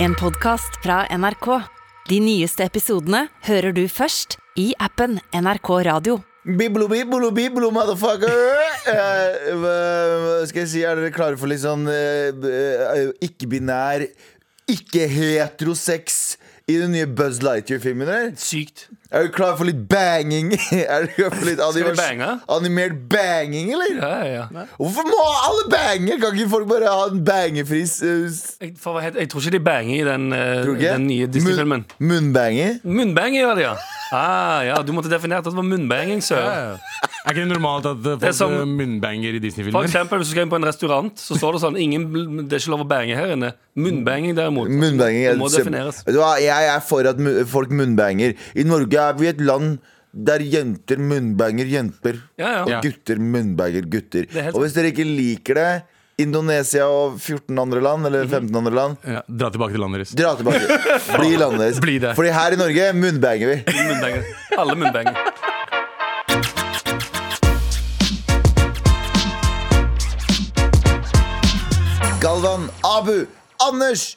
En podcast fra NRK. De nyeste episodene hører du først i appen NRK Radio. Biblo, biblo, biblo, motherfucker! Eh, hva skal jeg si, Er dere klare for litt sånn eh, eh, ikke-binær, ikke-heterosex i den nye Buzz Lightyear-filmen? eller? Sykt. Er dere klare for litt banging? er dere klare for litt vi animert, bange? animert banging, eller? Ja, ja, ja. Hvorfor må alle bange? Kan ikke folk bare ha en bangefri s- s- Jeg, for, å være helt- jeg tror ikke de banger i den, eh, tror du ikke? den nye Disney-filmen. Munn- Munnbanger? Munnbanger gjør de, ja. Ah, ja. Du måtte definert at det var munnbanging. sør. Ja, ja. Er ikke det normalt at eh, Det er folk som- eh, munnbanger i For Disney-filmer? eksempel, hvis du skal inn på en restaurant, så står det sånn ingen, Det er ikke lov å bange her inne. Munnbanging, derimot. Munnbanging er Det må et sem- defineres. Vet du hva, jeg er for at mu- folk munnbanger. I Norge er vi et land der jenter munnbanger jenter. Ja, ja. Og Ja. gutter munnbanger gutter. er helt Og hvis dere ikke liker det, Indonesia og 14 andre land, eller Mhm. 15 andre land, Ja, dra tilbake til landet deres. dra tilbake. Bli i landet deres. Bli der. Fordi her i Norge munnbanger vi. Munnbanger. Alle munnbanger. Galvan, Abu, Anders,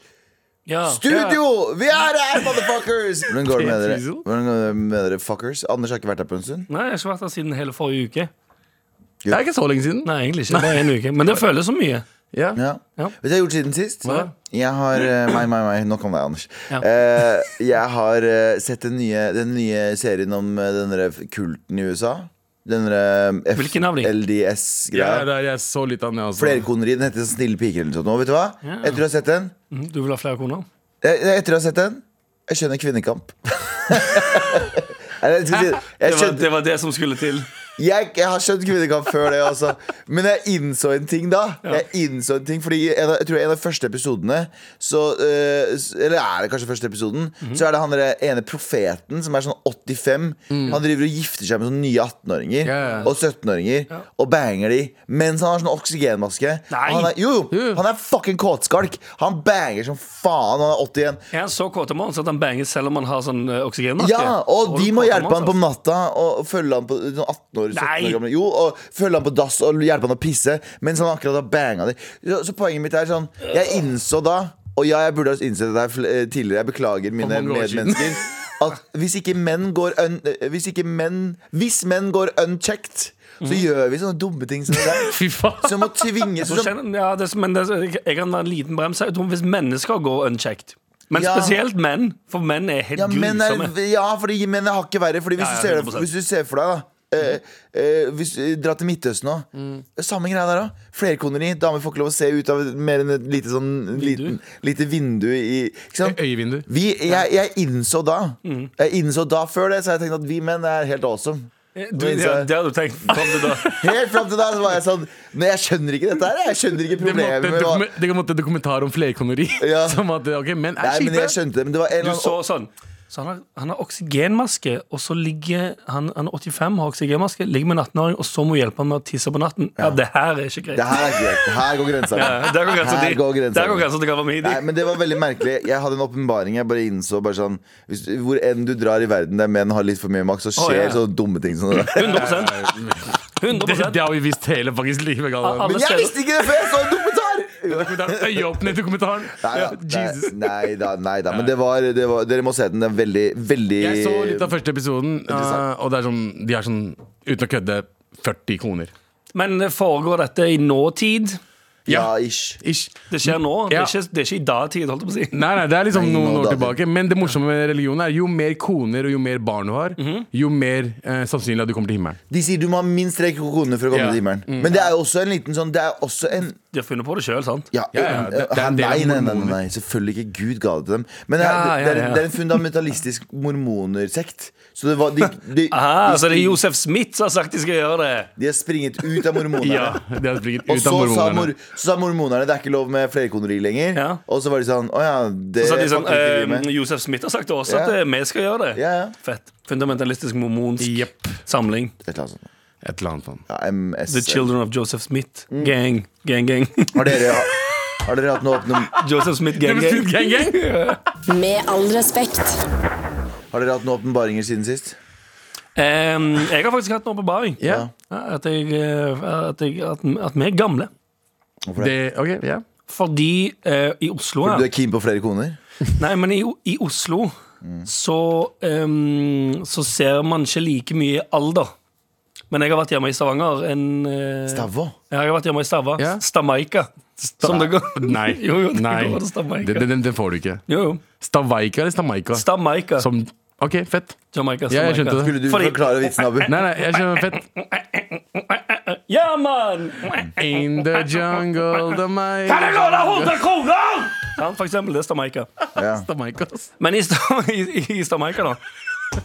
Ja. studio! Vi er her, motherfuckers! Hvordan går det med dere? Diesel. Hvordan går det med dere, fuckers? Anders har ikke vært her på en stund. Nei, jeg har ikke vært her siden hele forrige uke. Det er ikke så lenge siden. Nei, egentlig ikke. Bare en uke. Men det føles så mye. Ja. Ja. Ja. Vet du hva jeg har gjort siden sist? Hva da? Jeg har eh, Nei, nei, nei. Nok om deg, Anders. Ja. Eh, jeg har eh, sett den nye, den nye serien om eh, den der kulten i USA. Den derre eh, Hvilken av de? Ja, FLDS-greia. det er, jeg så litt av altså. den, jeg også. Flerkoneri. Den heter sånn Snille piker eller noe sånt. nå, Vet du hva? Ja. Etter å ha sett den Mhm, Du vil ha flere koner? eh, Etter å ha sett den Jeg skjønner kvinnekamp. Eller, jeg, skal si, jeg, Det var, skjønte, det var det som skulle til. jeg, jeg har skjønt kvinnekamp før det også. Men jeg innså en ting da. Jeg innså en ting Fordi i en av, jeg tror i en av de første episodene så, eh, s- Eller er det kanskje første episoden? Mhm. Så er det han der ene profeten som er sånn 85. Han driver og gifter seg med sånne nye 18-åringer Mm. Ja, ja. og 17-åringer og banger de mens han har sånn oksygenmaske. Nei. Og Han er, jo, jo, han er fucking kåtskalk! Han banger som faen. Han er 81. Er han så kåtemann at han banger selv om han har sånn eh, oksygenmaske? Ja, og de må hjelpe han på altså. natta og følge han på sånn 18 år, 17 år Nei. gamle Jo, og følge han på dass og hjelpe han å pisse mens han akkurat har banga de. Så, så poenget mitt er sånn Jeg innså da, og ja, jeg burde ha innsett det her fl- eh, tidligere, jeg beklager mine mange år siden. medmennesker, at hvis ikke menn går un, eh, Hvis ikke menn Hvis menn går unchecked, så gjør vi sånne dumme ting som det der. Fy faen. Som å tvinge Så som, kjenner- Ja, det, men det, jeg kan være en liten brems. her. Jeg tror Hvis mennesker går unchecked Men Ja. spesielt menn, for menn er helt ja, eh, menn er, grusomme. ja, fordi menn er hakket verre. Fordi hvis, Ja, du ja, ser, 100%. hvis du ser for deg, da eh, eh, hvis du Dra til Midtøsten nå. Mm. Samme greia der òg. Flerkoneri. Damer får ikke lov å se ut av et- mer enn et lite sånn liten, lite vindu i Ikke sant? Ø- øyevindu. Vi, jeg, jeg innså da. Mm. Jeg innså da Før det så har jeg tenkt at vi menn er helt awesome. Eh, Du, ja, det hadde du tenkt fram til da. Helt fram til da så var jeg sånn Men jeg skjønner ikke dette her. Jeg skjønner ikke Det problemet måtte, med hva dokumen- det måtte dokumentar om flerkoneri. Ja. Som at eh, ok, menn er Nei, men kjipe. jeg skjønte det. Men det var en eller Du annen så sånn Så han har, han har oksygenmaske, og så ligger han, han er 85, har oksygenmaske, ligger med en 18-åring, og så må hjelpe han med å tisse på natten. Ja, det her er ikke greit. Det her er ikke greit. Her går grensa. Ja, Der går grensa Her til- går grensa. Der går grensa til Gavamidi. Nei, men det var veldig merkelig. Jeg hadde en åpenbaring. Jeg bare innså bare sånn hvis, Hvor enn du drar i verden der menn har litt for mye makt, så skjer ja, ja. sånne dumme ting som det der. 100 Det, sånn, 100 det har vi visst hele faktisk livet. Galvan. Alle Men jeg steder- visste ikke det før jeg så en dokumentar! Dokumentaren, Øyeåpner til kommentaren. Nei da, Ja, Jesus. nei, nei da. Nei, da. Men det var, det var Dere må se den. Den er veldig, veldig Jeg så litt av første episoden, eh, og det er sånn, de er sånn, uten å kødde, 40 kroner. Men foregår dette i nåtid? Ja, ish. Ish. Det skjer nå? Ja. Det, er ikke, det er ikke i datid, holdt jeg på å si. Nei, nei, det er liksom Nei, noen nå år da. tilbake. Men det morsomme med religion er jo mer koner og jo mer barn du har, Mhm. jo mer eh, sannsynlig at du kommer til himmelen. De sier du må ha minst tre kroner for å komme Ja. Mm. til himmelen. Men det er jo også en liten sånn Det er også en De har funnet på det sjøl, sant? Ja, Ja, ja, det- det er han- en del av nei, nei, nei, nei, mormoner. nei, selvfølgelig ikke. Gud ga det til dem. Men det er, Ja, ja, det er, ja. det er en fundamentalistisk mormonersekt. Så det var de, de, Ah, Aha, de, Ah, så det er spring- Josef Smith som har sagt de skal gjøre det? de har springet ut av mormonerne. Ja, det har springet Og ut så av sa, mormonerne. mor, så sa mormonerne det er ikke lov med flerkoneri lenger. Ja. Og så var de sånn Å ja, det Så sa de sånn, fucker ikke vi eh, med». Josef Smith har sagt til oss Ja. at eh, vi skal gjøre det. Ja, ja. Fett. Fundamentalistisk mormonsk Jepp. samling. Et eller annet sånt. Et eller annet sånt. Ja, MS. The Children of Joseph Smith. Mm. Gang, gang, gang. Har dere, har dere hatt noe åpne Joseph Smith, gang, gang. Gang, gang. Med all respekt. Har dere hatt noen åpenbaringer siden sist? Em, Ehm, jeg har faktisk hatt en åpenbaring. Ja. Ja, At, jeg, eh, at, jeg- at, at vi er gamle. Hvorfor det? Det, ok, ja. Fordi eh, i Oslo ja. Du er keen på flere koner? Nei, men i, O- i Oslo så, ehm, så ser man ikke like mye alder. Men jeg har vært hjemme i Stavanger. En, eh, Stavå? Ja, jeg har vært hjemme i Stava. Ja. Stamaika. Som det går. Nei. jo, jo, det Nei. går til Stamaika. Den, den, den får du ikke. Jo, jo. Stavaika eller Stamaika? Stamaika. Som OK, fett. Jamaica, Ja, Jamaica. jeg skjønte det. Skulle du Fordi- forklare vitsen, Abu? Nei, nei, jeg skjønner fett. Ja, mann! In the jungle, the my Kan jeg låne 100 kroner?! Sant, for eksempel. Det er Stamaika. Ja. Stamaika, ass. Men i, Stam i, i Stamaika, da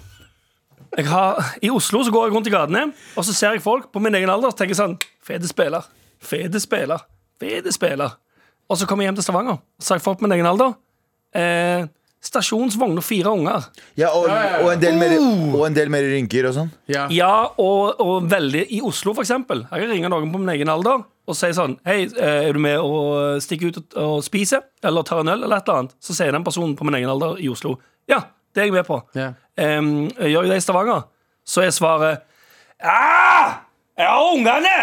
jeg har, I Oslo så går jeg rundt i gatene, og så ser jeg folk på min egen alder og tenker jeg sånn Fede spiller. Fede spiller. Fede spiller. Og så kommer jeg hjem til Stavanger og ser jeg folk på min egen alder. Eh, stasjonsvogn og fire unger. Ja, og, og, en del mer, og en del mer rynker og sånn? Ja. Ja, og, og veldig I Oslo, for eksempel. Jeg kan ringe noen på min egen alder og si sånn Hei, eh, er du med å stikke ut og, og spise? Eller ta en øl? Eller et eller annet. Så sier den personen på min egen alder i Oslo Ja, det er jeg med på. Ja. Em, gjør jeg det i Stavanger, så er svaret ah, Jeg har ungene!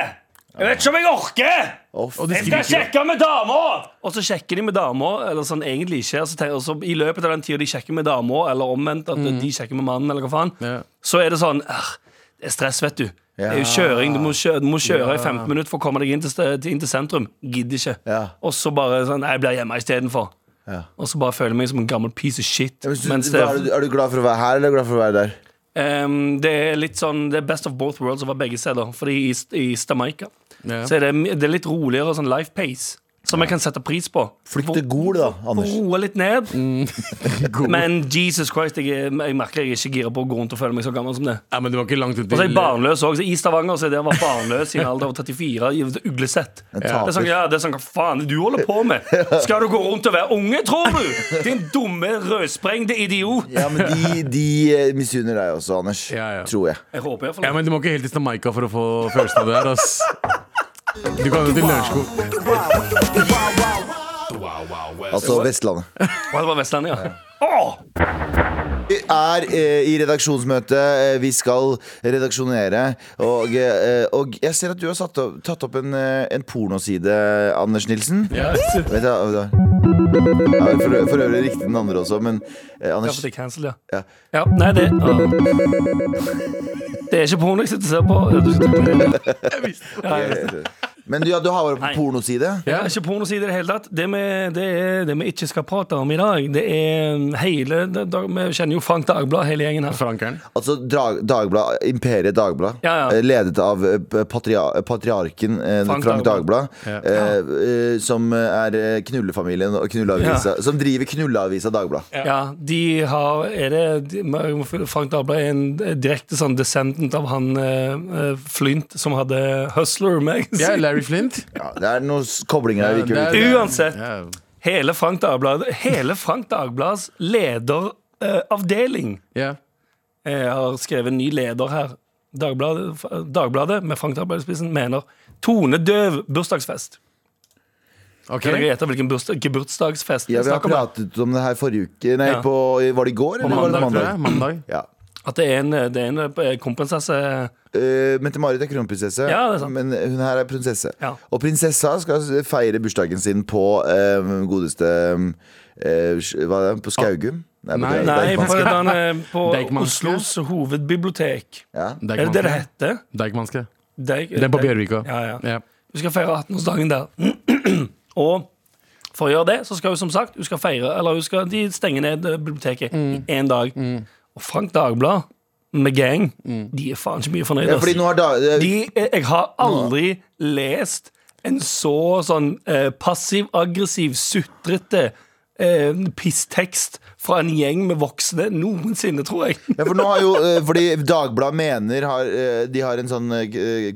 Jeg vet ikke om jeg orker! Å, Og de f- skriker jo. med dama! Og så sjekker de med dama, eller sånn egentlig ikke. Og så, tenker, og så I løpet av den tida de sjekker med dama, eller omvendt, at Mm. de sjekker med mannen, eller hva faen, Ja. så er det sånn «Ah, Det er stress, vet du. Det er jo kjøring. Du må kjøre, du må kjøre i 15 minutter for å komme deg inn til, ste- til- inn til sentrum. Gidder ikke. Ja. Og så bare sånn «Nei, Jeg blir hjemme istedenfor. Ja. Og så bare føler jeg meg som en gammel piece of shit. Ja, men så- mens det, hva er, du, er du glad for å være her, eller er du glad for å være der? Ehm, det er litt sånn Det er best of both worlds over begge steder. Fordi i, i Stamaika Ja. Så er det, det er litt roligere sånn life pace, som jeg kan sette pris på. Flytt til Gol, da, Hvor- Anders. Roe litt ned. Men Jesus Christ, jeg, er- jeg merker jeg er ikke gira på å gå rundt og føle meg så gammel som det. ja, men det var ikke langt ut Og til så er jeg barnløs også, så I Stavanger så er det å være barnløs i en alder av 34 i et uglesett. Det taper. er sånn, ja, det er sånn, hva faen er det du holder på med? Skal du gå rundt og være unge, tror du? Din dumme, rødsprengte idiot. Ja, men de, de eh, misunner deg også, Anders. Ja, ja. Tror jeg. Jeg håper iallfall Ja, men du må ikke helt til Stamaika for å få følelsen av det her, ass. Du kan jo til Lørenskog. Altså Vestlandet. det var Vestlandet, ja. Åh! Vi er eh, i redaksjonsmøte. Eh, Vi skal redaksjonere. Og, eh, og jeg ser at du har satt opp, tatt opp en, eh, en pornoside, Anders Nilsen. Ja, Vet du, hva- hva- ja, for, ø- for øvrig riktig den andre også, men eh, Ja, Anders for det er cancel, ja. Ja. Ja, nei, det ah. Det er ikke porno jeg sitter og ser på. Ja, du sitter og ser på. Ja, jeg visste det. eh, Men ja, du har vært på Nei. pornoside? Det er ikke porno å si det i det hele tatt. Det vi, det, er, det vi ikke skal prate om i dag, det er um, hele det, da- Vi kjenner jo Frank Dagblad, hele gjengen her. Frankeren. Altså Dag, Dagblad, Imperiet Dagblad, Ja, ja. eh, ledet av eh, patria, patriarken eh, Frank Frank, Dagblad, Dagblad. eh, eh, som er eh, knullefamilien og knulleavisa, som driver knulleavisa Dagblad. Ja, de har er det, de, Frank Dagblad er en direkte sånn descendant av han eh, eh, Flynt som hadde Hustler Ja, Magazine. Larry Flint. Ja, det er noen s- koblinger her vi ikke vil det vite. er- Uansett. Ja. Hele Frank Dagblad, hele Frank Dagblads lederavdeling Ja. Jeg har skrevet en ny leder her. Dagbladet, Dagbladet med Frank Dagbladet i spissen, mener tonedøv bursdagsfest. OK. Kan jeg gjette hvilken bursdag, geburtsdagsfest Ja, jeg vi har snakker om? her? pratet om det her forrige uke Nei, Ja. på, var det i går? På Eller var mandag, det tror mandag? jeg. Mandag. Ja. At det er en, det er en eh, kronprinsesse Eh, Mette-Marit er kronprinsesse, Ja, det er sant. men hun her er prinsesse. Ja. Og prinsessa skal s- feire bursdagen sin på eh, godeste eh, sj- Hva er det? På Skaugum? Nei, på Nei. Nei, på, Deichmanske. den, eh, på Deichmanske? Oslos hovedbibliotek. Ja. Er det det det heter? Deichmanske. Deich- Den på Bjørvika. Ja, ja. Ja. Hun skal feire 18-årsdagen der. og for å gjøre det, så skal hun som sagt hun skal feire, eller hun skal, de stenger ned eh, biblioteket i én dag. Og Frank Dagblad med gang, de er faen ikke mye fornøyd. ja, ass. fordi nå har da, eh, de, jeg, jeg har aldri lest en så sånn eh, passiv-aggressiv, sutrete eh, pisstekst fra en gjeng med voksne noensinne, tror jeg. Ja, for nå har jo, eh, fordi Dagbladet mener har, eh, De har en sånn eh,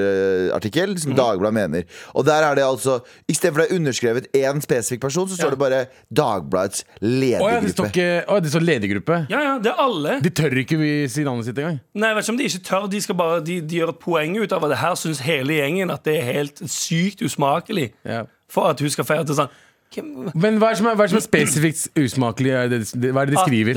kommentarartikkel som Mhm. Dagbladet mener. Og der er det altså Istedenfor det er underskrevet én spesifikk person, så står det bare Dagbladets Å ja, det står ledergruppe. ikke Å, det står ledergruppe. Ja, ja, det er alle. De tør ikke vi si navnet sitt engang. Nei, jeg vet ikke om de ikke tør. De, skal bare, de, de gjør et poeng ut av at det her syns hele gjengen at det er helt sykt usmakelig Ja. for at hun skal feire til sånn hvem- Men hva er det som er, hva er, det som er spesifikt usmakelig? Er det, det- hva er det de skriver? At,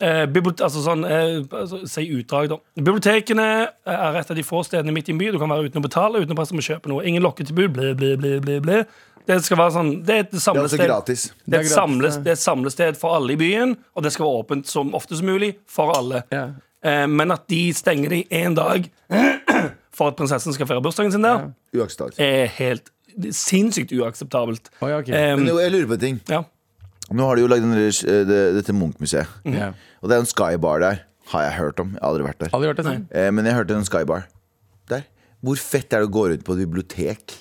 eh, eh, bibliot- altså sånn, eh, altså, si utdrag, da. Bibliotekene eh, er et av de få stedene midt i en by du kan være uten å betale, uten å presse med å kjøpe noe. Ingen lokketilbud, ble, ble, ble, ble, ble. Det skal være sånn Det er et Det er også samlested. gratis. Det er et, Det er gratis, samles, det er et samlested for alle i byen, og det skal være åpent som ofte som mulig for alle. Ja. Eh, men at de stenger det én dag for at prinsessen skal feire bursdagen sin der, Uakseptabelt. er helt det er sinnssykt uakseptabelt. Å, ja, ok. Eh, Men jo, jeg lurer på en ting. ja. Nå har de jo lagd den der, eh, det- dette Munch-museet. Ja. Og det er en skybar der. Har jeg hørt om. Jeg har aldri vært der. Aldri hørt det sånn. Eh, Men jeg hørte en skybar der. Hvor fett er det å gå rundt på et bibliotek?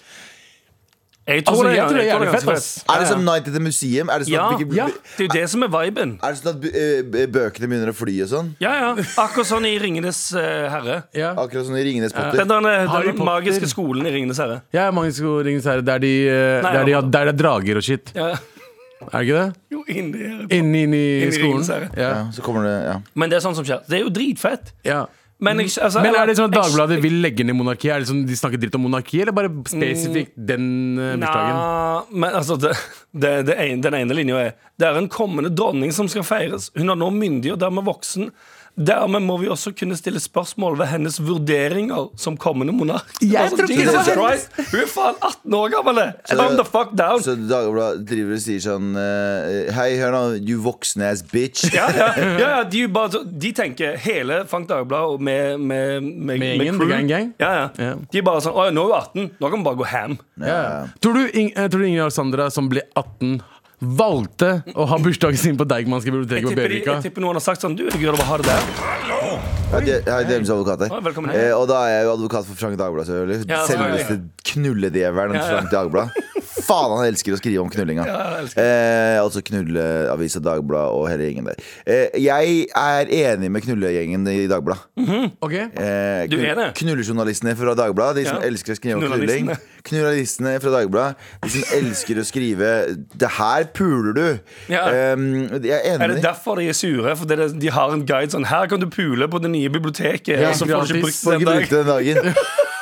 Jeg tror Altså, det, jeg tror det er jeg tror jævlig ganske fett, fett. ass. Er det som Night at the Museum? Er det sånn Ja, at, ja, bygge- det er jo det som er viben. er det sånn at eh, b- bøkene begynner å fly og sånn? Ja, ja. Akkurat sånn i 'Ringenes eh, herre'. Ja. Akkurat som i Ringenes Potter. Den, der- eh, Harry den Potter. magiske skolen i 'Ringenes herre'. Jeg er mange sko ringes herre der, de, eh, Nei, der, de, ja. der det er drager og shit. Ja. Er det ikke det? Jo, inn i Harry Potter. Inni, inni Inni skolen. Ringenes herre. Ja. Ja, så kommer det ja. Men det er sånn som skjer. Det er jo dritfett. Ja. Men, jeg, altså, Men er det sånn at jeg- Dagbladet vil legge ned monarkiet? Er det sånn De snakker dritt om monarkiet, eller bare spesifikt den eh, bursdagen? Nja, men altså det, det, det ene, Den ene linja er Det er en kommende dronning som skal feires. Hun er nå myndig og dermed voksen. Dermed må vi også kunne stille spørsmål ved hennes vurderinger som kommende monark. Det var sånn, tror ikke Jesus det var Christ, Hun er faen 18 år gammel! Calm the fuck down! Så Dagbladet driver og sier sånn eh, Hei, hør nå, you voksen ass bitch. Ja, ja, ja, ja de, er jo bare, så- de tenker hele Frank Dagblad og med, med, med, Med gjengen, crew. the gang gang? Ja, ja. Ja. De er bare sånn Å ja, nå er hun 18. Nå kan vi bare gå ham. Ja. Tror du, Ing- eh, tror du Ingrid Alexandra, som ble 18, valgte å ha bursdagen sin på Deichmanske bibliotek på Tipper, de, Bjørvika? jeg tipper noen har sagt sånn Du, jeg gjør det bare ha det der. Hei, det- hei, det er James advokat her. Å, velkommen. Eh, og da er jeg jo advokat for Frank Dagblad, selvfølgelig. Ja, selvfølgelig. Selveste knulledjevelen Frank Dagblad. Faen, han elsker å skrive om knullinga. eh, altså knulleavisa Dagblad og hele gjengen der. Eh, jeg er enig med knullegjengen i Dagbladet. Ok, Eh, Du er knu- det. Knullejournalistene fra Dagbladet, de som Ja. elsker å skrive om knulling. Knullalistene. Knullalistene fra Dagbladet, de som elsker å skrive 'Det her puler du'. Ja. Em, jeg er enig Er med det dem. derfor de er sure? Fordi det- de har en guide sånn Her kan du pule på det nye biblioteket. Ja, og så får du ikke gratis. brukt Får det ikke en dag. brukt den dagen.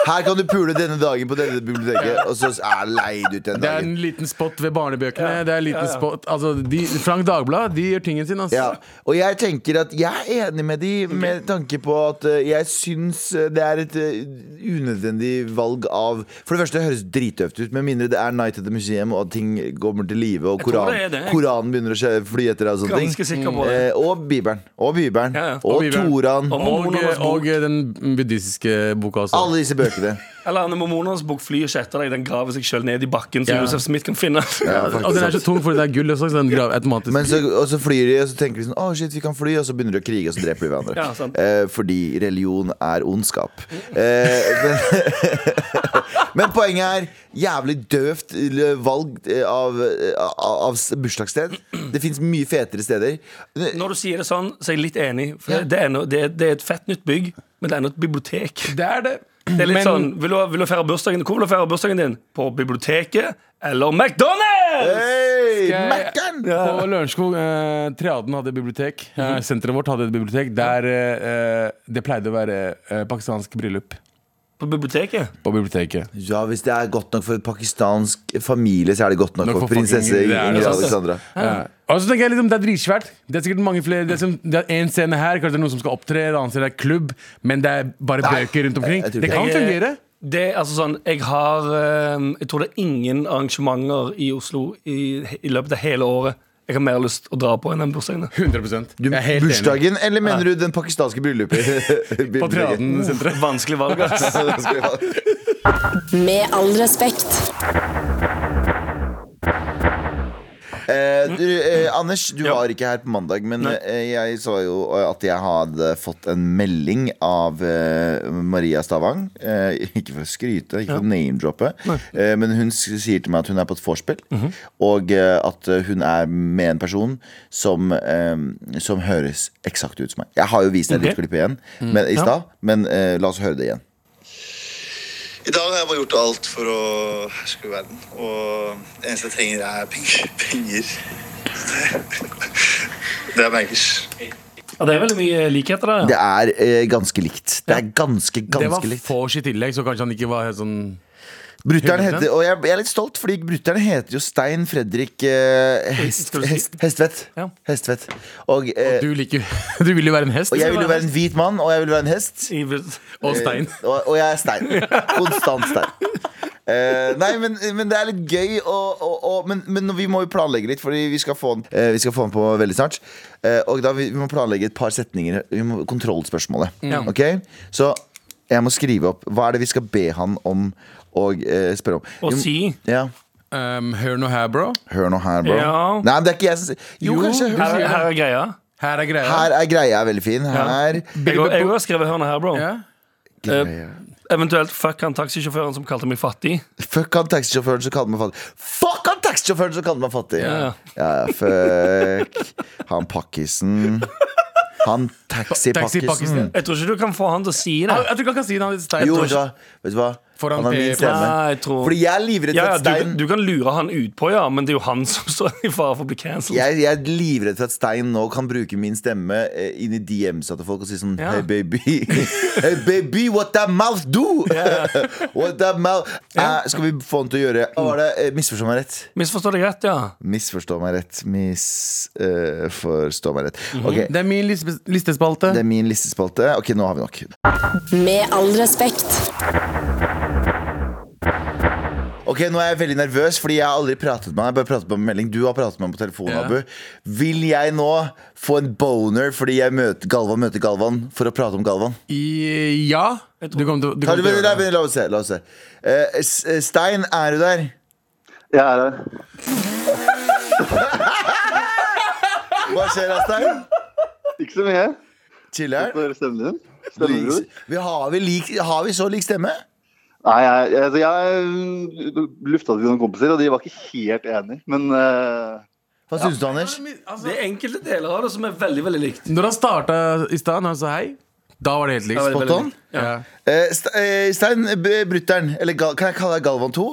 Her kan du pule denne dagen på denne biblioteket, og så er det leid ut den Det er dagen. en liten spot ved barnebøkene. Ja. Det er en liten Ja, ja. spot Altså, de, Frank Dagblad de gjør tingen sin, altså. Ja, og jeg tenker at jeg er enig med de med tanke på at eh, jeg syns eh, det er et eh, unødvendig valg av For det første, det høres dritøft ut, med mindre det er Night at the Museum og at ting kommer til live, og tror Koran, det er det. Koranen begynner å skje- fly etter deg og sånne Ganske ting. sikker på det. Eh, og Bibelen. Og Bibelen. Ja, ja. Og, Og Bibelen. Toran. Og Og, Mormonernes bok. og den buddhistiske boka også. Alle disse bøkene. Eller Anne Mormonernes bok flyr ikke etter deg. Den graver seg sjøl ned i bakken, så Ja. Josef Smith kan finne Ja, den. faktisk. og den er så tung fordi det er gull også, så den graver automatisk. Men så, og så flyr de, og så tenker de sånn Å, shit, vi kan fly. Og så begynner de å krige, og så dreper de hverandre. Ja, sant. eh, fordi religion er ondskap. Eh, men, men poenget er jævlig døvt eh, valg eh, av, eh, av, av bursdagssted. Det fins mye fetere steder. Når du sier det sånn, så er jeg litt enig. For Ja. det, er no, det, er, det er et fett nytt bygg, men det er nå et bibliotek. det er det. Det er litt sånn vil du, vil du feire bursdagen Hvor vil du feire bursdagen din? På biblioteket eller McDonald's? Hey, Skal jeg- Mac-en! På Lørenskog, eh, Triaden hadde bibliotek. Eh, Mhm. senteret vårt hadde et bibliotek der eh, det pleide å være eh, pakistansk bryllup På biblioteket? på biblioteket. Ja, hvis det er godt nok for en pakistansk familie, så er det godt nok, Nok for, for prinsesse fucking- det altså. er Ingrid det sant. Alexandra. Ja. Og så tenker jeg liksom, Det er dritsvært. Det er sikkert mange flere Det er, som, det er en scene her, kanskje det er noen som skal opptre, en annen scene er klubb, men det er bare bøker rundt omkring. jeg tror Det ikke. kan Jeg, eh, fungere. Det er altså sånn, jeg har eh, Jeg tror det er ingen arrangementer i Oslo i, i løpet av hele året jeg har mer lyst å dra på enn den bursdagen. 100 Du, Jeg er helt enig. bursdagen, eller mener du den pakistanske bryllupet? På Triaden senteret. Vanskelig valg, ass. Bryllupet. Med all respekt. Eh, du, eh, Anders, du Mm. Ja. var ikke her på mandag, men Nei. eh, jeg så jo at jeg hadde fått en melding av eh, Maria Stavang. Eh, ikke for å skryte, ikke for å name-droppe, eh, men hun s- sier til meg at hun er på et vorspiel, Mhm. og eh, at hun er med en person som, eh, som høres eksakt ut som meg. Jeg har jo vist deg litt Ok. Mm. klipp igjen men, i stad, men eh, la oss høre det igjen. I dag har jeg bare gjort alt for å herske verden. Og det eneste jeg trenger, er penger. penger. Det er bankers. Ja, det er veldig mye likheter der. Det er eh, ganske likt. Det er ganske, Det var ganske likt. vors i tillegg, så kanskje han ikke var helt sånn Brutter'n Hundre prosent. heter Og jeg, jeg er litt stolt, fordi brutter'n heter jo Stein Fredrik eh, hest, Skal du si? hest, Hestvedt. Ja. Hestvedt. Og, eh, Du, liker, du vil jo være en hest. og jeg vil jo være en hvit mann, og jeg vil være en hest. I- Og stein. Eh, Og, og jeg er stein. Konstant stein. Eh, nei, men, men det er litt gøy å, å, å, men, men vi må jo planlegge litt Fordi vi skal få den, eh, vi skal få den på veldig snart Eh, Og da vi, vi må planlegge et par setninger Vi må kontrollspørsmålet Ok? Så jeg må skrive opp Hva er det vi skal be han om Og eh, spørre om Og Vi må- si Ja, Um, hør nå her, bro. hør nå her, bro Ja. Nei, men det er ikke jeg som sier Jo, Jo, kanskje her, hør, her er greia. Her er greia. Her er greia er veldig fin Her Jeg har- jeg har skrevet hørnet her, bro. Ja. eh, Greia. Eventuelt fuck han taxisjåføren som kalte meg fattig. Fuck han taxisjåføren som kaller meg fattig. Fuck han taxisjåføren som kaller meg fattig! Ja, ja. Ja, ja, fuck han pakkisen. Han taxipakkisen. Taxi-pakkisen. Jeg tror ikke du kan få han til å si det. Jeg jeg tror ikke han kan si det. Han er litt stein. Jo, vet du hva? Vet du hva? Foran han har min P- stemme. Nei, jeg tror- Fordi jeg er livredd Ja, for ja, at Stein du, du kan lure han utpå, ja, men det er jo han som står i fare for å bli cancelled. jeg, jeg er livredd for at Stein nå kan bruke min stemme eh, inn i DMs til folk og si sånn Ja. Hey baby, hey baby, what that mouth do? what that mouth Eh, Skal vi få han til å gjøre Hva var det? Eh, Misforstå meg rett. Misforstår deg rett, ja. Misforstå meg rett. Misforstå meg rett. Ok, Det er min liste- listespalte. det er min listespalte. Ok, nå har vi nok. Med all respekt. Ok, Nå er jeg veldig nervøs, fordi jeg har aldri pratet med han. Jeg har bare pratet med han på melding. Du har pratet med han på telefon, Ja. Abu. Vil jeg nå få en boner fordi jeg møter Galvan møter Galvan for å prate om Galvan? I, ja. Du kommer til, du Har du, kommer til å la, gjøre det. la, la oss se. La oss se. Eh, S- eh, Stein, er du der? Jeg er her. Hva skjer da, Stein? Ikke så mye. Chiller'n? Får høre stemmen din? Stemmebror? Vi- Har, vi lik- har vi så lik stemme? Nei, jeg, altså jeg mm, lufta det til noen kompiser, og de var ikke helt enig. Men eh, Hva syns du, Anders? Det er enkelte deler av det som er veldig veldig likt. Når han starta i stad, når han sa hei, da var det helt likt. Spot on? Ja. Eh, St- eh, Stein, b- brutter'n. Eller Gal kan jeg kalle deg Galvan 2?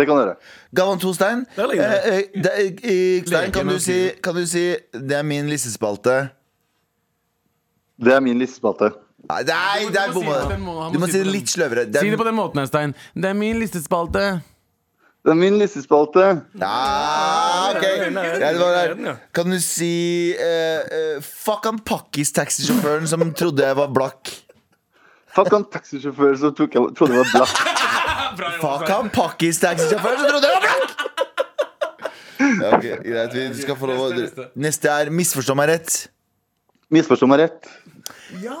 det kan dere. Galvan 2, Stein. Der ligger det. Eh, eh, det- eh, Stein, kan Leken du, og si, kan du si 'Det er min listespalte'? Det er min listespalte. Nei, nei, Du må- det er du må si det på den bomma. måten, Du han må si det på litt den- sløvere. Det er- Si det på den måten, her, Stein. Det er min listespalte. Det er min listespalte. Ja, ok. Nei, Ja, det var den, ja. der. Kan du si eh, eh, 'fuck han pakkis-taxisjåføren som trodde jeg var blakk'? Fuck han taxisjåføren som tok, jeg trodde jeg var black. Fuck han pakkis-taxisjåføren som trodde jeg var blakk! Ja, ok, greit, vi skal få lov å Neste er 'misforstå meg rett'. Misforstå meg rett.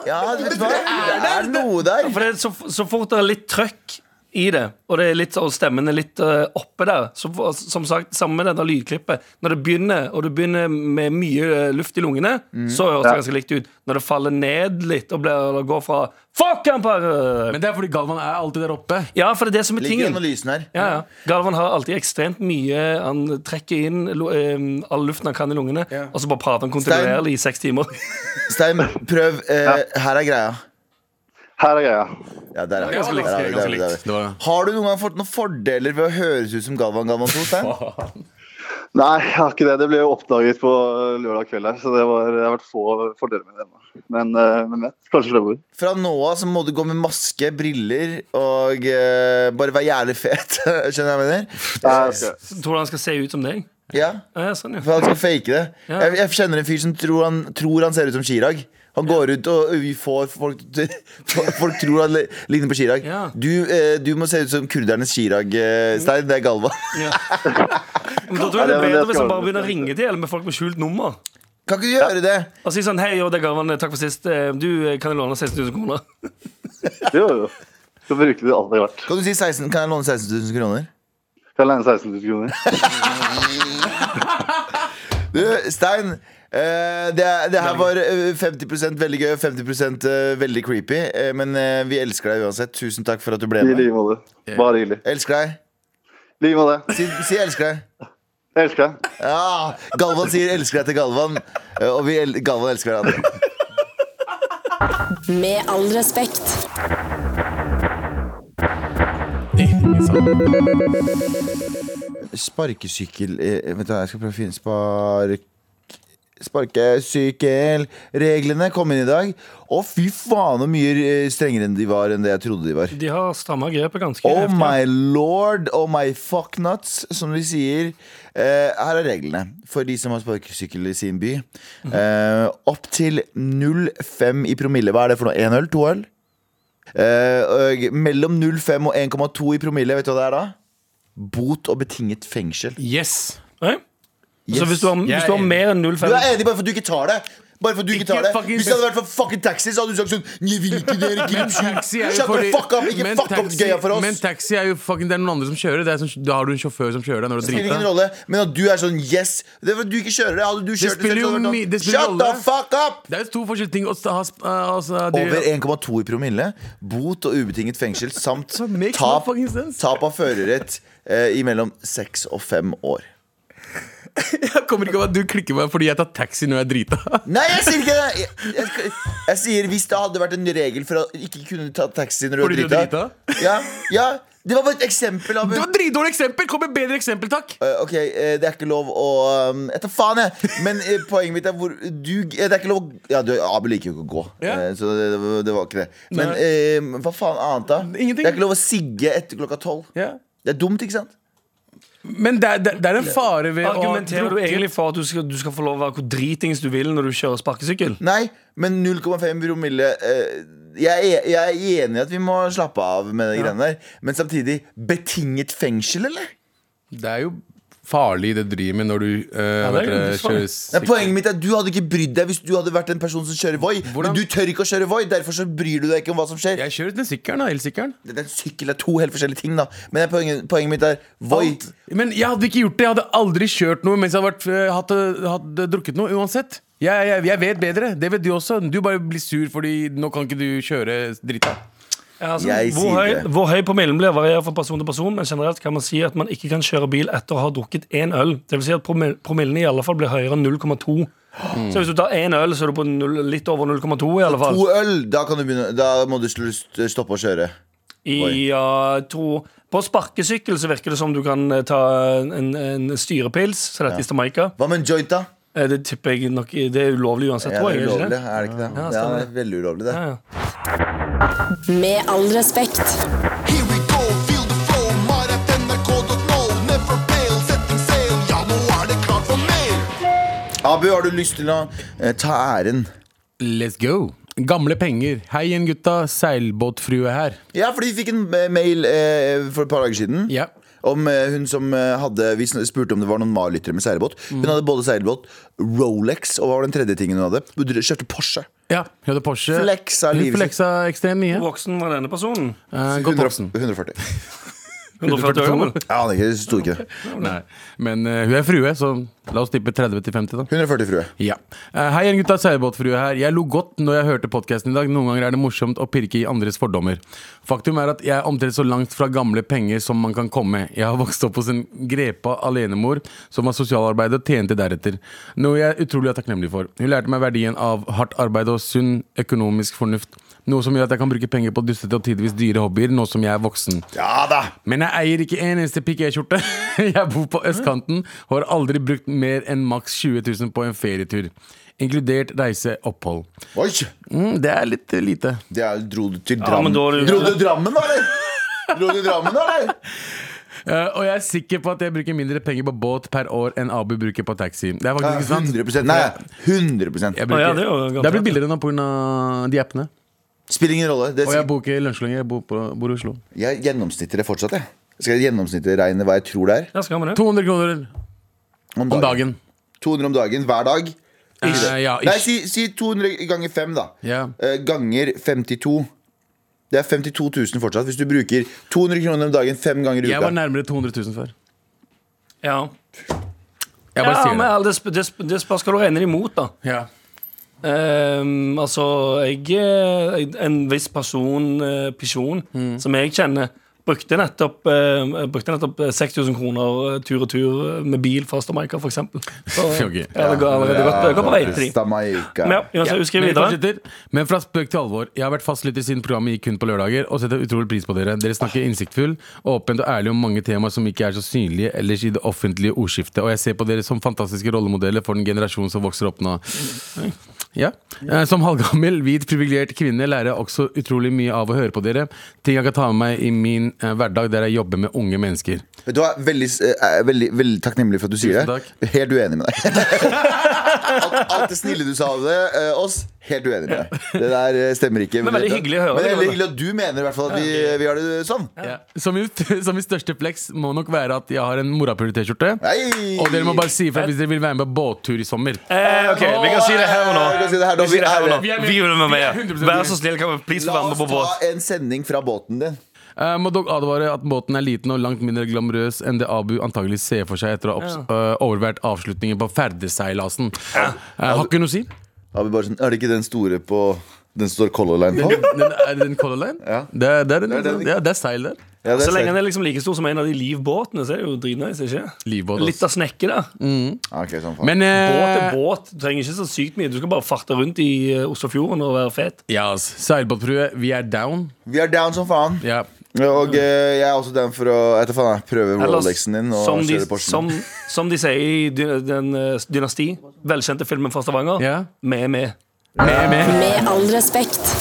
Ja, vet du hva? Det er noe der. For det er så, så fort det er litt trøkk i det, og, det er litt, og stemmen er litt eh, oppe der så, for- Som sagt, sammen med dette lydklippet. Når det begynner, og du begynner med mye eh, luft i lungene, Mm. så høres det ganske likt ut. Når det faller ned litt og, blir, og går fra Fuck han par Men det er fordi Galvan er alltid der oppe. Ja, for det er det som er Ligger tingen. analysen her. Ja, ja. Galvan har alltid ekstremt mye Han trekker inn lo- eh, all luften han kan i lungene, og så bare prater han kontinuerlig i seks timer. Stein, prøv. Eh, her er greia. Her er greia. Ja, der er vi. ganske likt, Der er vi, der er vi, der er ganske likt. Det vi. var- Har du noen gang fått noen fordeler ved å høres ut som Galvan Galvan 2, Stein? Nei, jeg har ikke det. Det ble jo oppdaget på lørdag kveld her, så det, var, det har vært få fordeler med det ennå. Men eh, men vet, kanskje fremover. Fra nå av så må du gå med maske, briller og eh, bare være jævlig fet. Skjønner du hva jeg mener? Ja, ok. Tror du han skal se ut som deg? Ja, Ja, sånn, ja. For han skal fake det. Ja. Jeg, jeg kjenner en fyr som tror han, tror han ser ut som Chirag. Han går ut og vi får folk Folk tror han li- ligner på Chirag. Ja. Du, eh, du må se ut som kurdernes Chirag, eh, Stein. Det er Galvan. Men da tror jeg det er Ja, det er bedre det hvis jeg han skal- bare begynner å ringe til eller med folk med skjult nummer. Kan ikke du gjøre det? Og si sånn Hei, jo, det er Garvan. Takk for sist. Eh, Du eh, kan jeg låne 16 000 kroner. Jo, jo. Så bruker du alt det er verdt. Kan, du si 16, kan jeg låne 16 000 kroner? Kan jeg leie 16 000 kroner? Du, Stein. eh, det, det her var eh, 50 veldig gøy og 50 veldig creepy. eh, men eh, vi elsker deg uansett. Tusen takk for at du ble I med. like måte. Bare hyggelig. Elsker deg. I like måte. Si, si 'elsker deg'. Jeg elsker deg. Ja, Galvan sier 'elsker deg' til Galvan. eh, Og vi el Galvan elsker hverandre. Med all respekt. Sparkesykkel eh, Vet du hva, jeg skal prøve å finne Spark... Sparkesykkelreglene kom inn i dag. Å, fy faen så mye eh, strengere enn de var enn det jeg trodde de var. De har stramma grepet ganske Oh heftig. my lord, oh my fucknuts, som de sier. Eh, her er reglene for de som har sparkesykkel i sin by. Mhm. Eh, Opptil 0,5 i promille. Hva er det for noe? Én øl? To øl? Eh, og mellom 0,5 og 1,2 i promille, vet du hva det er da? Bot og betinget fengsel. Yes. Nei? Så Yes. hvis du har, Jeg hvis er du har enig. mer enn Du 0,5 er enig bare for at du ikke tar det? Bare for at du ikke Ikke tar det fucking- Hvis det hadde vært for fucking taxi, så hadde du sagt sånn Jeg vil ikke dere korrupsjon. Taxi er jo Shut the fordi- fuck up! Ikke Men fuck opp taxi- gøya for oss! Men taxi er jo fucking, det er noen andre som kjører. Det er sånn, da har du en sjåfør som kjører deg når du Det spiller ingen driter. rolle, men at du er sånn yes Det er fordi du ikke kjører det. Hadde du kjørt selv, spiller så jo hadde det vært mi- det sånn, spiller Shut the rolle. fuck up! Det er jo to forskjellige ting. å ha, sp- eh, altså, det- Over 1,2 i promille, bot og ubetinget fengsel samt makes no tap, fucking sense. tap av førerrett eh, i mellom seks og fem år. Jeg kommer ikke av at du klikker meg fordi jeg tar taxi når jeg er drita. Nei, jeg sier ikke det! Jeg, jeg, jeg sier hvis det hadde vært en regel for å ikke kunne ta taxi når du Fordi er du er drita. Ja, ja, det var bare et eksempel av Det var et dritdårlig eksempel! Kom med et bedre eksempel, takk! Eh, Ok, eh, det er ikke lov å um, Jeg tar faen, jeg! Men eh, poenget mitt er hvor du eh, Det er ikke lov å Ja, du, Abel liker jo ikke å gå, Ja. eh, så det, det, var- det var ikke det. Men Nei. eh, hva faen annet, da? Ingenting. Det er ikke lov å sigge etter klokka tolv. Ja. Det er dumt, ikke sant? Men det er, det, det er en fare ved å ha Argumenterer du drukket. egentlig for at du skal, du skal få lov å være hvor dritings du vil når du kjører sparkesykkel? Nei, men 0,5 promille eh, jeg, er, jeg er enig i at vi må slappe av med de greiene der, men samtidig Betinget fengsel, eller? Det er jo farlig det du driver med når du uh, er vet jo dere, livsfarlig. kjører Nei, sikte. poenget mitt er at Du hadde ikke brydd deg hvis du hadde vært en person som kjører Voi. Hvordan? Men du tør ikke å kjøre Voi, derfor så bryr du deg ikke om hva som skjer. Jeg kjører uten sykkelen, da. Elsykkelen. Det er en sykkel det er to helt forskjellige ting, da. Men det er poenget, poenget mitt er Voi. Alt. Men jeg hadde ikke gjort det. Jeg hadde aldri kjørt noe mens jeg hadde, vært, eh, hatt, eh, hatt, eh, drukket noe, uansett. Jeg, jeg, jeg vet bedre. Det vet du også. Du bare blir sur fordi nå kan ikke du kjøre drita. Ja, altså, Jeg hvor, sier høy, det. hvor høy promillen blir, varierer fra person til person, men generelt kan man si at man ikke kan kjøre bil etter å ha drukket én øl. Det vil si at promil- promillen i alle fall blir høyere enn 0,2. Så hvis du tar én øl, så er du på null, litt over 0,2 i alle fall. To øl, da, kan du begynne, da må du slu- stoppe å kjøre. I, ja, to. På sparkesykkel så virker det som du kan eh, ta en, en styrepils, så dette er Jamaica. Hva med en joint, da? Eh, Det tipper jeg nok Det er ulovlig uansett, Ja, tror det jeg. er ulovlig, er det ikke det? er det ikke det? Ja, Ja, det stemmer. er veldig ulovlig, det. Ja, ja. Med all respekt. Here we go, feel the flow, maratnrk.no. Never fail, setting sail. Ja, nå er det klart for mer. Abu, har du lyst til å eh, ta æren? Let's go. Gamle penger. Hei igjen, gutta. Seilbåtfrue her. Ja, fordi vi fikk en eh, mail eh, for et par dager siden. Ja. Om eh, hun som eh, hadde Vi sn- spurte om det var noen Mar-lyttere med seilbåt. Hun hadde både seilbåt, Rolex, og hva var den tredje tingen hun hadde? Hun dr- kjøpte Porsche. Ja, hun hadde Porsche. Flexa Hun livet sitt. Flexa ekstremt mye. Hvor voksen var denne personen? Eh, godt 100 voksen. 140. Jeg 140 år gammel? aner ikke, det sto ikke det. Nei. Men eh, hun er frue, så la oss tippe 30 til 50, da. 140 frue. Ja. Eh, hei igjen, gutta. Seilbåtfrue her. Jeg lo godt når jeg hørte podkasten i dag. Noen ganger er det morsomt å pirke i andres fordommer. Faktum er at jeg er omtrent så langt fra gamle penger som man kan komme. Jeg har vokst opp hos en grepa alenemor som var sosialarbeider og tjente deretter. Noe jeg er utrolig takknemlig for. Hun lærte meg verdien av hardt arbeid og sunn økonomisk fornuft. Noe som gjør at jeg kan bruke penger på dustete og tidvis dyre hobbyer nå som jeg er voksen. Ja da! Men jeg eier ikke en eneste pikéskjorte. Jeg bor på østkanten og har aldri brukt mer enn maks 20 000 på en ferietur. Inkludert reise, opphold. Oi! Mm, det er litt eh, lite. Det er, dro du til Ja, Drammen? men da er det- dro du til Drammen, da, eller? Dro du til Drammen, da, eller? Eh, og jeg er sikker på at jeg bruker mindre penger på båt per år enn Abu bruker på taxi. Det Ja, er faktisk ikke sant. 100 Nei, 100 Å, Jeg ja, bruker, det er jo garantert. det er blitt billigere nå pga. de appene. Spiller ingen rolle. Det Og jeg jeg, bor ikke i lunsj lenger. Jeg bor, på, bor i Oslo. jeg gjennomsnitter det fortsatt, jeg. Skal jeg gjennomsnitte regne hva jeg tror det er? Ja, skal vi det? 200 kroner om dagen. 200 om dagen hver dag. Eh, ja, Nei, ish. si, si 200 ganger 5, da. Ja. Eh, ganger 52. Det er 52 000 fortsatt. Hvis du bruker 200 kroner om dagen fem ganger i Jeg var uka. nærmere 200 000 før. Ja. Jeg bare ja sier men det. alle- det, sp- det, sp- det spørs hva du regner imot, da. Ja. Ehm, altså, jeg eh, En viss person, eh, person som jeg kjenner, brukte nettopp, eh, brukte nettopp eh, 6000 kroner eh, tur og tur eh, med bil fra Stamaika, f.eks. Så Ok. jeg har allerede gått gått på vei til de. Stamaika. Men ja, uansett, hun skriver Men, vi videre. fortsetter. men fra spøk til alvor. Jeg har vært fastlytter siden programmet gikk kun på lørdager, og setter utrolig pris på dere. Dere snakker innsiktfull, åpent og ærlig om mange temaer som ikke er så synlige ellers i det offentlige ordskiftet, og jeg ser på dere som fantastiske rollemodeller for den generasjonen som vokser opp nå. Ja. Eh, Som halvgammel, hvit, privilegert kvinne lærer jeg også utrolig mye av å høre på dere. Ting jeg kan ta med meg i min eh, hverdag der jeg jobber med unge mennesker. Vet du hva, veldig, eh, veldig, veldig takknemlig for at du sier Tusen det. Helt uenig med deg. alt, alt det snille du sa om det, eh, oss, helt uenig med deg. Det der eh, stemmer ikke. Men veldig hyggelig å høre Men det er det, veldig hyggelig at du mener i hvert fall at vi, vi har det sånn. Så, min, så min største flex må nok være at jeg har en morapuler-T-skjorte. Nei. Og dere må bare si ifra hvis dere vil være med på båttur i sommer. Eh, OK, vi kan si det her og nå. Vi kan si det her nå. Vi sier det her og nå. Vi er med. Vi vil være Vi er med. 100% Vær så snill, kan vi please få La være med oss på båt? ta en sending fra båten din. Eh, må dog advare at båten er liten og langt mindre glamorøs enn det Abu antagelig ser for seg etter å ha obs- eh, overvært avslutningen på ferdeseilasen. Eh, har ikke noe å si. Da blir bare sånn, Er det ikke den store på Den står Color Line på? Den, er det den Color Line? Ja. Det, er- det, er den, Det er den. ja, det er seil der. Ja, det Så lenge ser- den er liksom like stor som en av de livbåtene, så er det jo dritnice. ikke? Livbåt. Litt av snekke der. Ah, ok, sånn, faen. Men eh, Båt er båt. Du trenger ikke så sykt mye. Du skal bare farte rundt i eh, Oslofjorden og være fet. ja, ass. seilbåtfrue, vi er down. Vi er down som faen. Ja. Og eh, jeg er også down for å jeg vet da faen, jeg, prøve Ellers, Rolexen din og som, de, kjøre Porschen. som, som de sier i dy- den eh, Dynasti, velkjente filmen fra Stavanger, Ja. vi er med. Med, med. Med all respekt.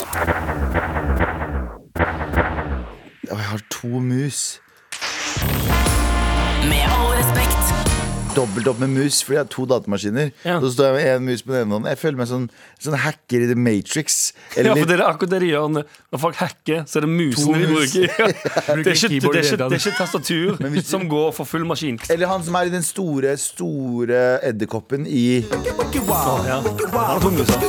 Å, jeg har to mus. Med all respekt. Dobbelt opp med mus, fordi jeg har to datamaskiner. Ja. Så står jeg med én mus på den ene hånden. Jeg føler meg som sånn hacker i The Matrix. Ja, for Eller det er akkurat det de gjør når når folk hacker, så er det musene de mus. bruker. Ja. Det er ikke, det er keyboard i det ikke, hele det er ikke tastatur hvis du- som går for full maskin. eller han som er i den store, store edderkoppen i Ja. Han har to muser.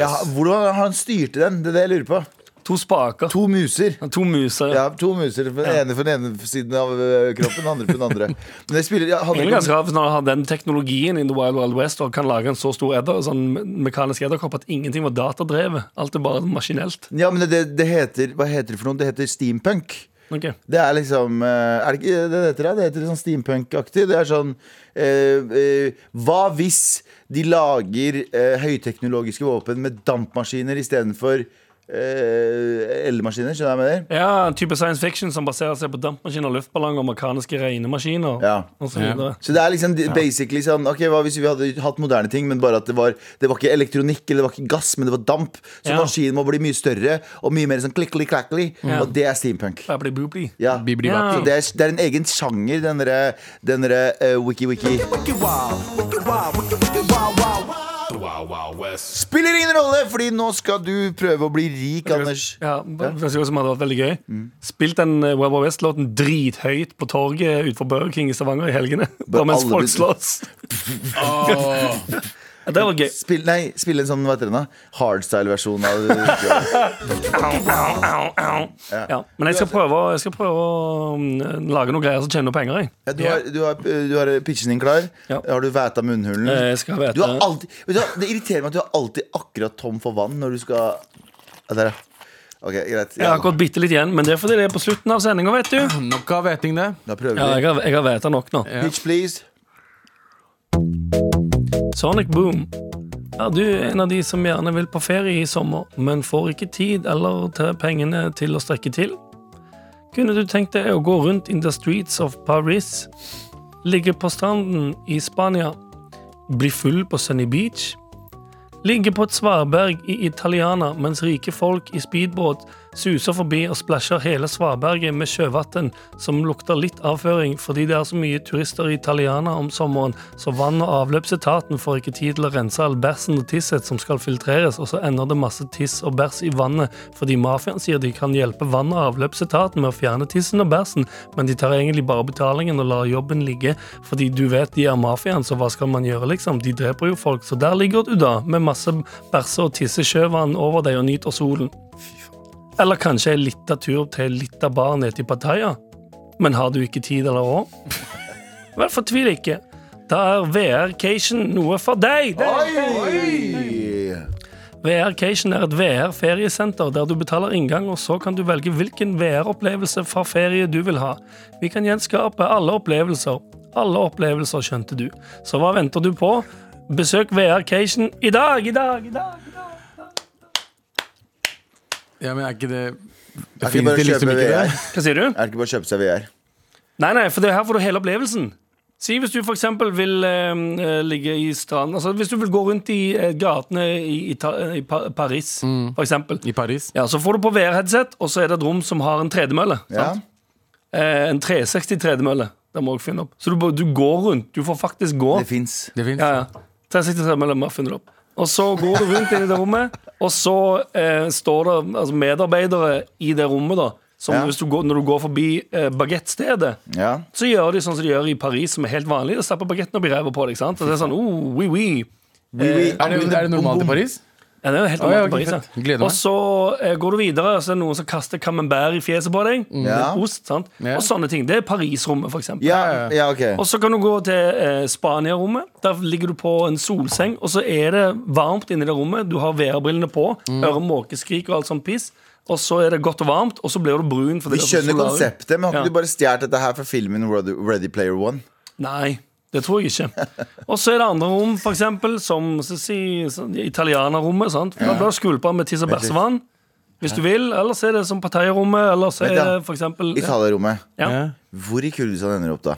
ja, Hvordan har han styrte den? Det er det jeg lurer på. To spaker. To muser. Han har To muser. Ja, to muser. Den ene for den ene siden av ø, kroppen, den andre for den andre. Men det spiller ja, handler ikke Egentlig om- ganske rart hvis man har den teknologien in the wild wild west og kan lage en så stor edder, sånn me- mekanisk edderkopp at ingenting var datadrevet. Alt er bare maskinelt. Ja, men det, det heter Hva heter det for noe? Det heter steampunk. Ok. Det er liksom eh, Er det ikke det det heter? Det, det heter sånn steampunk-aktig. Det er sånn eh, eh, Hva hvis de lager eh, høyteknologiske våpen med dampmaskiner istedenfor eh, elmaskiner? Skjønner du hva jeg mener? Ja, en type science fiction som baserer seg på dampmaskiner, luftballonger, mekaniske regnemaskiner Ja. og så videre. Så det er liksom de- basically sånn Ok, hva hvis vi hadde hatt moderne ting, men bare at det var Det var ikke elektronikk eller det var ikke gass, men det var damp. Så Ja. maskinen må bli mye større og mye mer sånn klikkeli-klakkeli. Ja. Og det er steampunk. Babli-bubli. Ja. Bibidi-bap. Så det, er, det er en egen sjanger, den derre den derre, eh, wiki-wiki. Spiller ingen rolle, fordi nå skal du prøve å bli rik, Anders. Ja, det synes jeg også hadde vært veldig gøy. Mm. Spilt den eh, Web of West-låten drithøyt på torget utenfor Burger King i Stavanger i helgene. Bare mens alle folk blir- slåss. Ja, det var gøy. Spill, nei, spill en sånn, hva heter den da? Hardstyle-versjon av Au, au, au, au. Ja, men jeg skal prøve, å- jeg skal prøve å mm, lage noen greier som tjener noe penger. Jeg. ja, du, har, du, har, du har pitchen din klar. Ja. Har du væta munnhulen? Eh, Jeg skal vete Du har alltid, vet du, hva, det irriterer meg at du er alltid akkurat tom for vann når du skal ja, Der, ja. Ok, greit. Jeg har akkurat bitte litt igjen, men det er fordi det er på slutten av sendinga, vet du. Nok av hveting, det. Da prøver Ja, vi. jeg har, jeg har veta nok nå. Pitch, please. Sonic Boom. Er du en av de som gjerne vil på ferie i sommer, men får ikke tid eller til pengene til å strekke til? Kunne du tenkt deg å gå rundt in the streets of Paris, ligge på stranden i Spania, bli full på Sunny Beach, ligge på et svaberg i Italiana mens rike folk i speedbåt suser forbi og splasjer hele svaberget med sjøvann som lukter litt avføring fordi det er så mye turister i Italiana om sommeren, så vann- og avløpsetaten får ikke tid til å rense all bæsjen og tisset som skal filtreres, og så ender det masse tiss og bæsj i vannet fordi mafiaen sier de kan hjelpe vann- og avløpsetaten med å fjerne tissen og bæsjen, men de tar egentlig bare betalingen og lar jobben ligge, fordi du vet de er mafiaen, så hva skal man gjøre, liksom? De dreper jo folk, så der ligger du da, med masse bæsje og tissesjøvann over deg og nyter solen. Eller kanskje en lita tur til en lita bar nede til Pattaya? Men har du ikke tid eller råd? Vel, fortvil ikke. Da er VR-cation noe for deg! Oi! VR-cation er et VR-feriesenter der du betaler inngang, og så kan du velge hvilken VR-opplevelse fra ferie du vil ha. Vi kan gjenskape alle opplevelser. Alle opplevelser, skjønte du. Så hva venter du på? Besøk VR-cation i dag, i dag, i dag! i dag. Ja, men er ikke det Er det ikke bare Fins det å liksom kjøpe ikke VR? det? Er Hva sier du? det ikke bare å kjøpe seg VR? Nei, nei, for det her får du hele opplevelsen. Si hvis du for eksempel vil eh, eh, ligge i stranden Altså hvis du vil gå rundt i eh, gatene i, Ita i Pa- Paris, for eksempel. I Paris. Ja, så får du på VR-headset, og så er det et rom som har en tredemølle. Ja. sant? Eh, en 360-tredemølle. Det må jeg finne opp. Så du, bare- du går rundt. Du får faktisk gå. Det fins. Det fins. Ja, ja. 363 mellom muffin drop. Og så går du rundt inn i det rommet, og så eh, står det altså, medarbeidere i det rommet. da Som Ja. hvis du går, Når du går forbi eh, bagettstedet, Ja. så gjør de sånn som de gjør i Paris, som er helt vanlig. De stapper bagetten opp i ræva på deg. ikke sant? Og det er sånn, oh, oui, oui. Er, det, er det normalt i Paris? Ja, det er jo helt Å, normalt ja, i ok, Paris. fett. Gleder Ja. meg. Og så eh, går du videre, og så er det noen som kaster camembert i fjeset på deg. Med Ja. Ost, sant? Ja. Og sånne ting. Det er Paris-rommet, for eksempel. Ja, ja, ok. Og så kan du gå til eh, Spania-rommet. Der ligger du på en solseng, og så er det varmt inni det rommet. Du har VR-brillene på, Mm. hører måkeskrik og alt sånt piss. Og så er det godt og varmt, og så blir du brun. fordi Vi det er sånn skjønner solarium. konseptet, men har Ja. ikke du bare stjålet dette her fra filmen Ready Ready Player One? Nei, det tror jeg ikke. Og så er det andre rom, for eksempel, som så si, sånn, italienerrommet. sant? Da blir du skvulpa med tiss og bæsjevann. Hvis du vil. Eller så er det som Pattaya-rommet, eller så Vent er da. det for eksempel ja, Italia-rommet. ja. Hvor i Kurdistan ender du opp, da?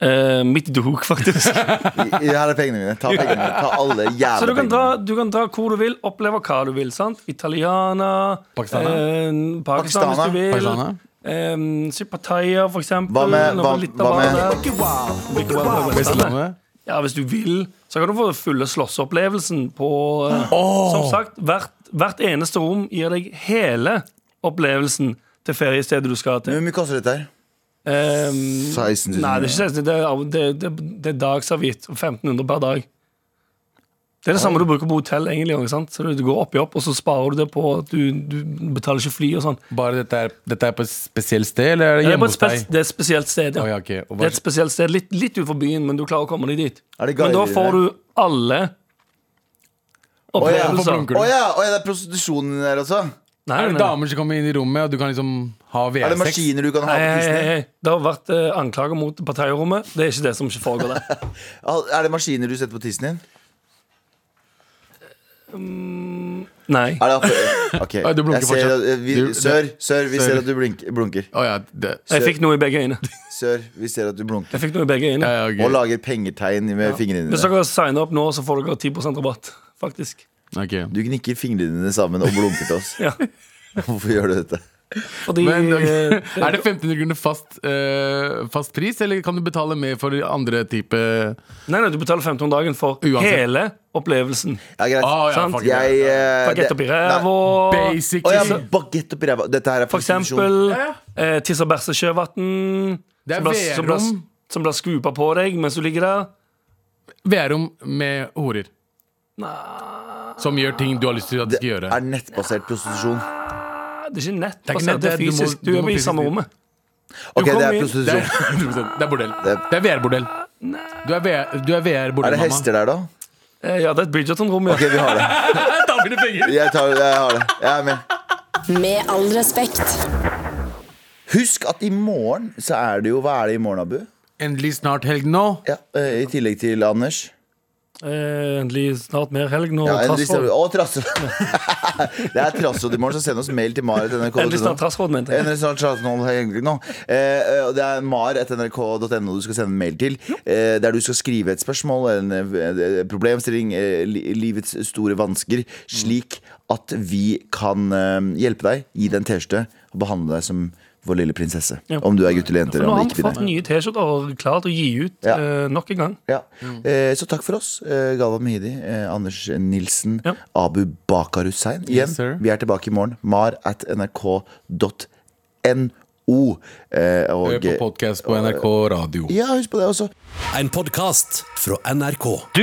eh, Midt i dok, faktisk. I- Her er pengene mine. Ta pengene mine. Ta alle jævla Så du pengene. kan, dra, du kan dra hvor du vil, oppleve hva du vil. sant? Italiana, Pakistana. eh, Pakistan hvis du vil. Pakistana. Eh, si Pattaya, for eksempel. Hva med- hva- Nå var litt hva av med- hver der. Wicked Wild på Vestlandet. Vestlandet. Ja, hvis du vil, så kan du få fulle slåssopplevelsen på eh, Som sagt, hvert, hvert eneste rom gir deg hele opplevelsen til feriestedet du skal til. Hvor mye koster dette her? Eh, 16 000. Nei, det er ikke 16 det er, det, det, det er dagsavgitt. 1500 per dag. Det er det samme du bruker på hotell. egentlig, ikke sant? Så du, du går opp i opp, og så sparer du det på at du, du betaler ikke fly og sånn. Bare dette er, dette er på et spesielt sted, eller er det Det er, hjemme på et hos spe- deg? det er et spesielt sted, Å, ja. ja, ok. Og Det er bare, et spesielt sted, Litt, litt utenfor byen, men du klarer å komme deg dit. Er det Men da guider får du alle ja, opplevelser. blunker Å ja, å ja, det er prostitusjonen der også? Nei, er nei, det nei. damer som kommer inn i rommet, og du kan liksom ha Er det VR-sex? maskiner du kan ha på Hei, hei, hei, Disney? hei. Det har vært eh, anklager mot partirommet. Det er ikke det som ikke foregår der. Al- Er det maskiner du setter på tissen din? Nei. Er det oppe- Ok, Nei, du blunker jeg ser fortsatt. at eh, vi, Du- Sør, sør, vi Sør. ser at du blink, blunker. Å ja, det, Jeg fikk noe i begge øyne. Sør, vi ser at du blunker. Jeg fikk noe i begge øyne. ja, ja, Og ok. lager pengetegn med fingrene Hvis dine. dere signer opp nå, så får dere 10 rabatt. Faktisk. Ok. Du gnikker fingrene dine sammen og blunker til oss. Ja. Hvorfor gjør du dette? Fordi Men, eh, er det 1500 kroner fast, eh, fast pris, eller kan du betale mer for andre type Nei, nei, du betaler 1500 dagen for Uansett. hele opplevelsen. Ja, greit. Å, Ah, ja, Sant. fuck it. Jeg eh, det- Bagett oppi Nei. ræva. Basic Å ja, shit. bagett oppi ræva. Dette her er For prostitusjon. eksempel Ja, eh, tiss og bæsj og sjøvann. Det er Som blir- som blir- VR-rom. Som blir skupa på deg mens du ligger der. VR-rom med horer. Som gjør ting du har lyst til at de skal gjøre. Er nettbasert prostitusjon. Nei, Det er ikke nett, er ikke altså, nett, det er det er- du må- fysisk. Du du er må i fysisk samme dit. rommet. Ok, det kommer er inn- Det er, prostitusjon. 100%. det er bordell. Det Det er VR-bordell. Du er Er VR-bordell, det hester der, da? Eh, ja, det er et Bridgerton-rom, ja. Ok, vi har det. Jeg, tar, jeg har det. Jeg er med. Med all respekt. Husk at i morgen så er det jo Hva er det i morgen, Abu? Endelig snart helg nå. Ja, eh, I tillegg til Anders. Eh, endelig snart mer helg nå. Ja, endelig trassråd. snart- Å, trassråd! det er trassråd i morgen, så send oss mail til mar.nrk.no. Endelig snart trassråd, mente jeg. Endelig snart trassråd, egentlig nå. Eh, eh, og det er mar.nrk.no du skal sende mail til, eh, der du skal skrive et spørsmål, en eh, problemstilling, eh, li- livets store vansker, Mm. slik at vi kan eh, hjelpe deg, gi deg en T-skjorte og behandle deg som vår lille prinsesse. Ja. Om du er gutt eller jente, For eller nå om har du vi ikke fått er det. nye T-skjorter og klart å gi ut Ja. eh, nok en gang. Ja. Mm. Eh, så takk for oss. Eh, Galvan Mehidi, eh, Anders Nilsen, Ja. Abu Bakar Hussein. Igjen, Yes, sir. vi er tilbake i morgen. Mar at nrk.no. Eh, og Hør på podkast på NRK Radio. ja, husk på det også. En podkast fra NRK. Du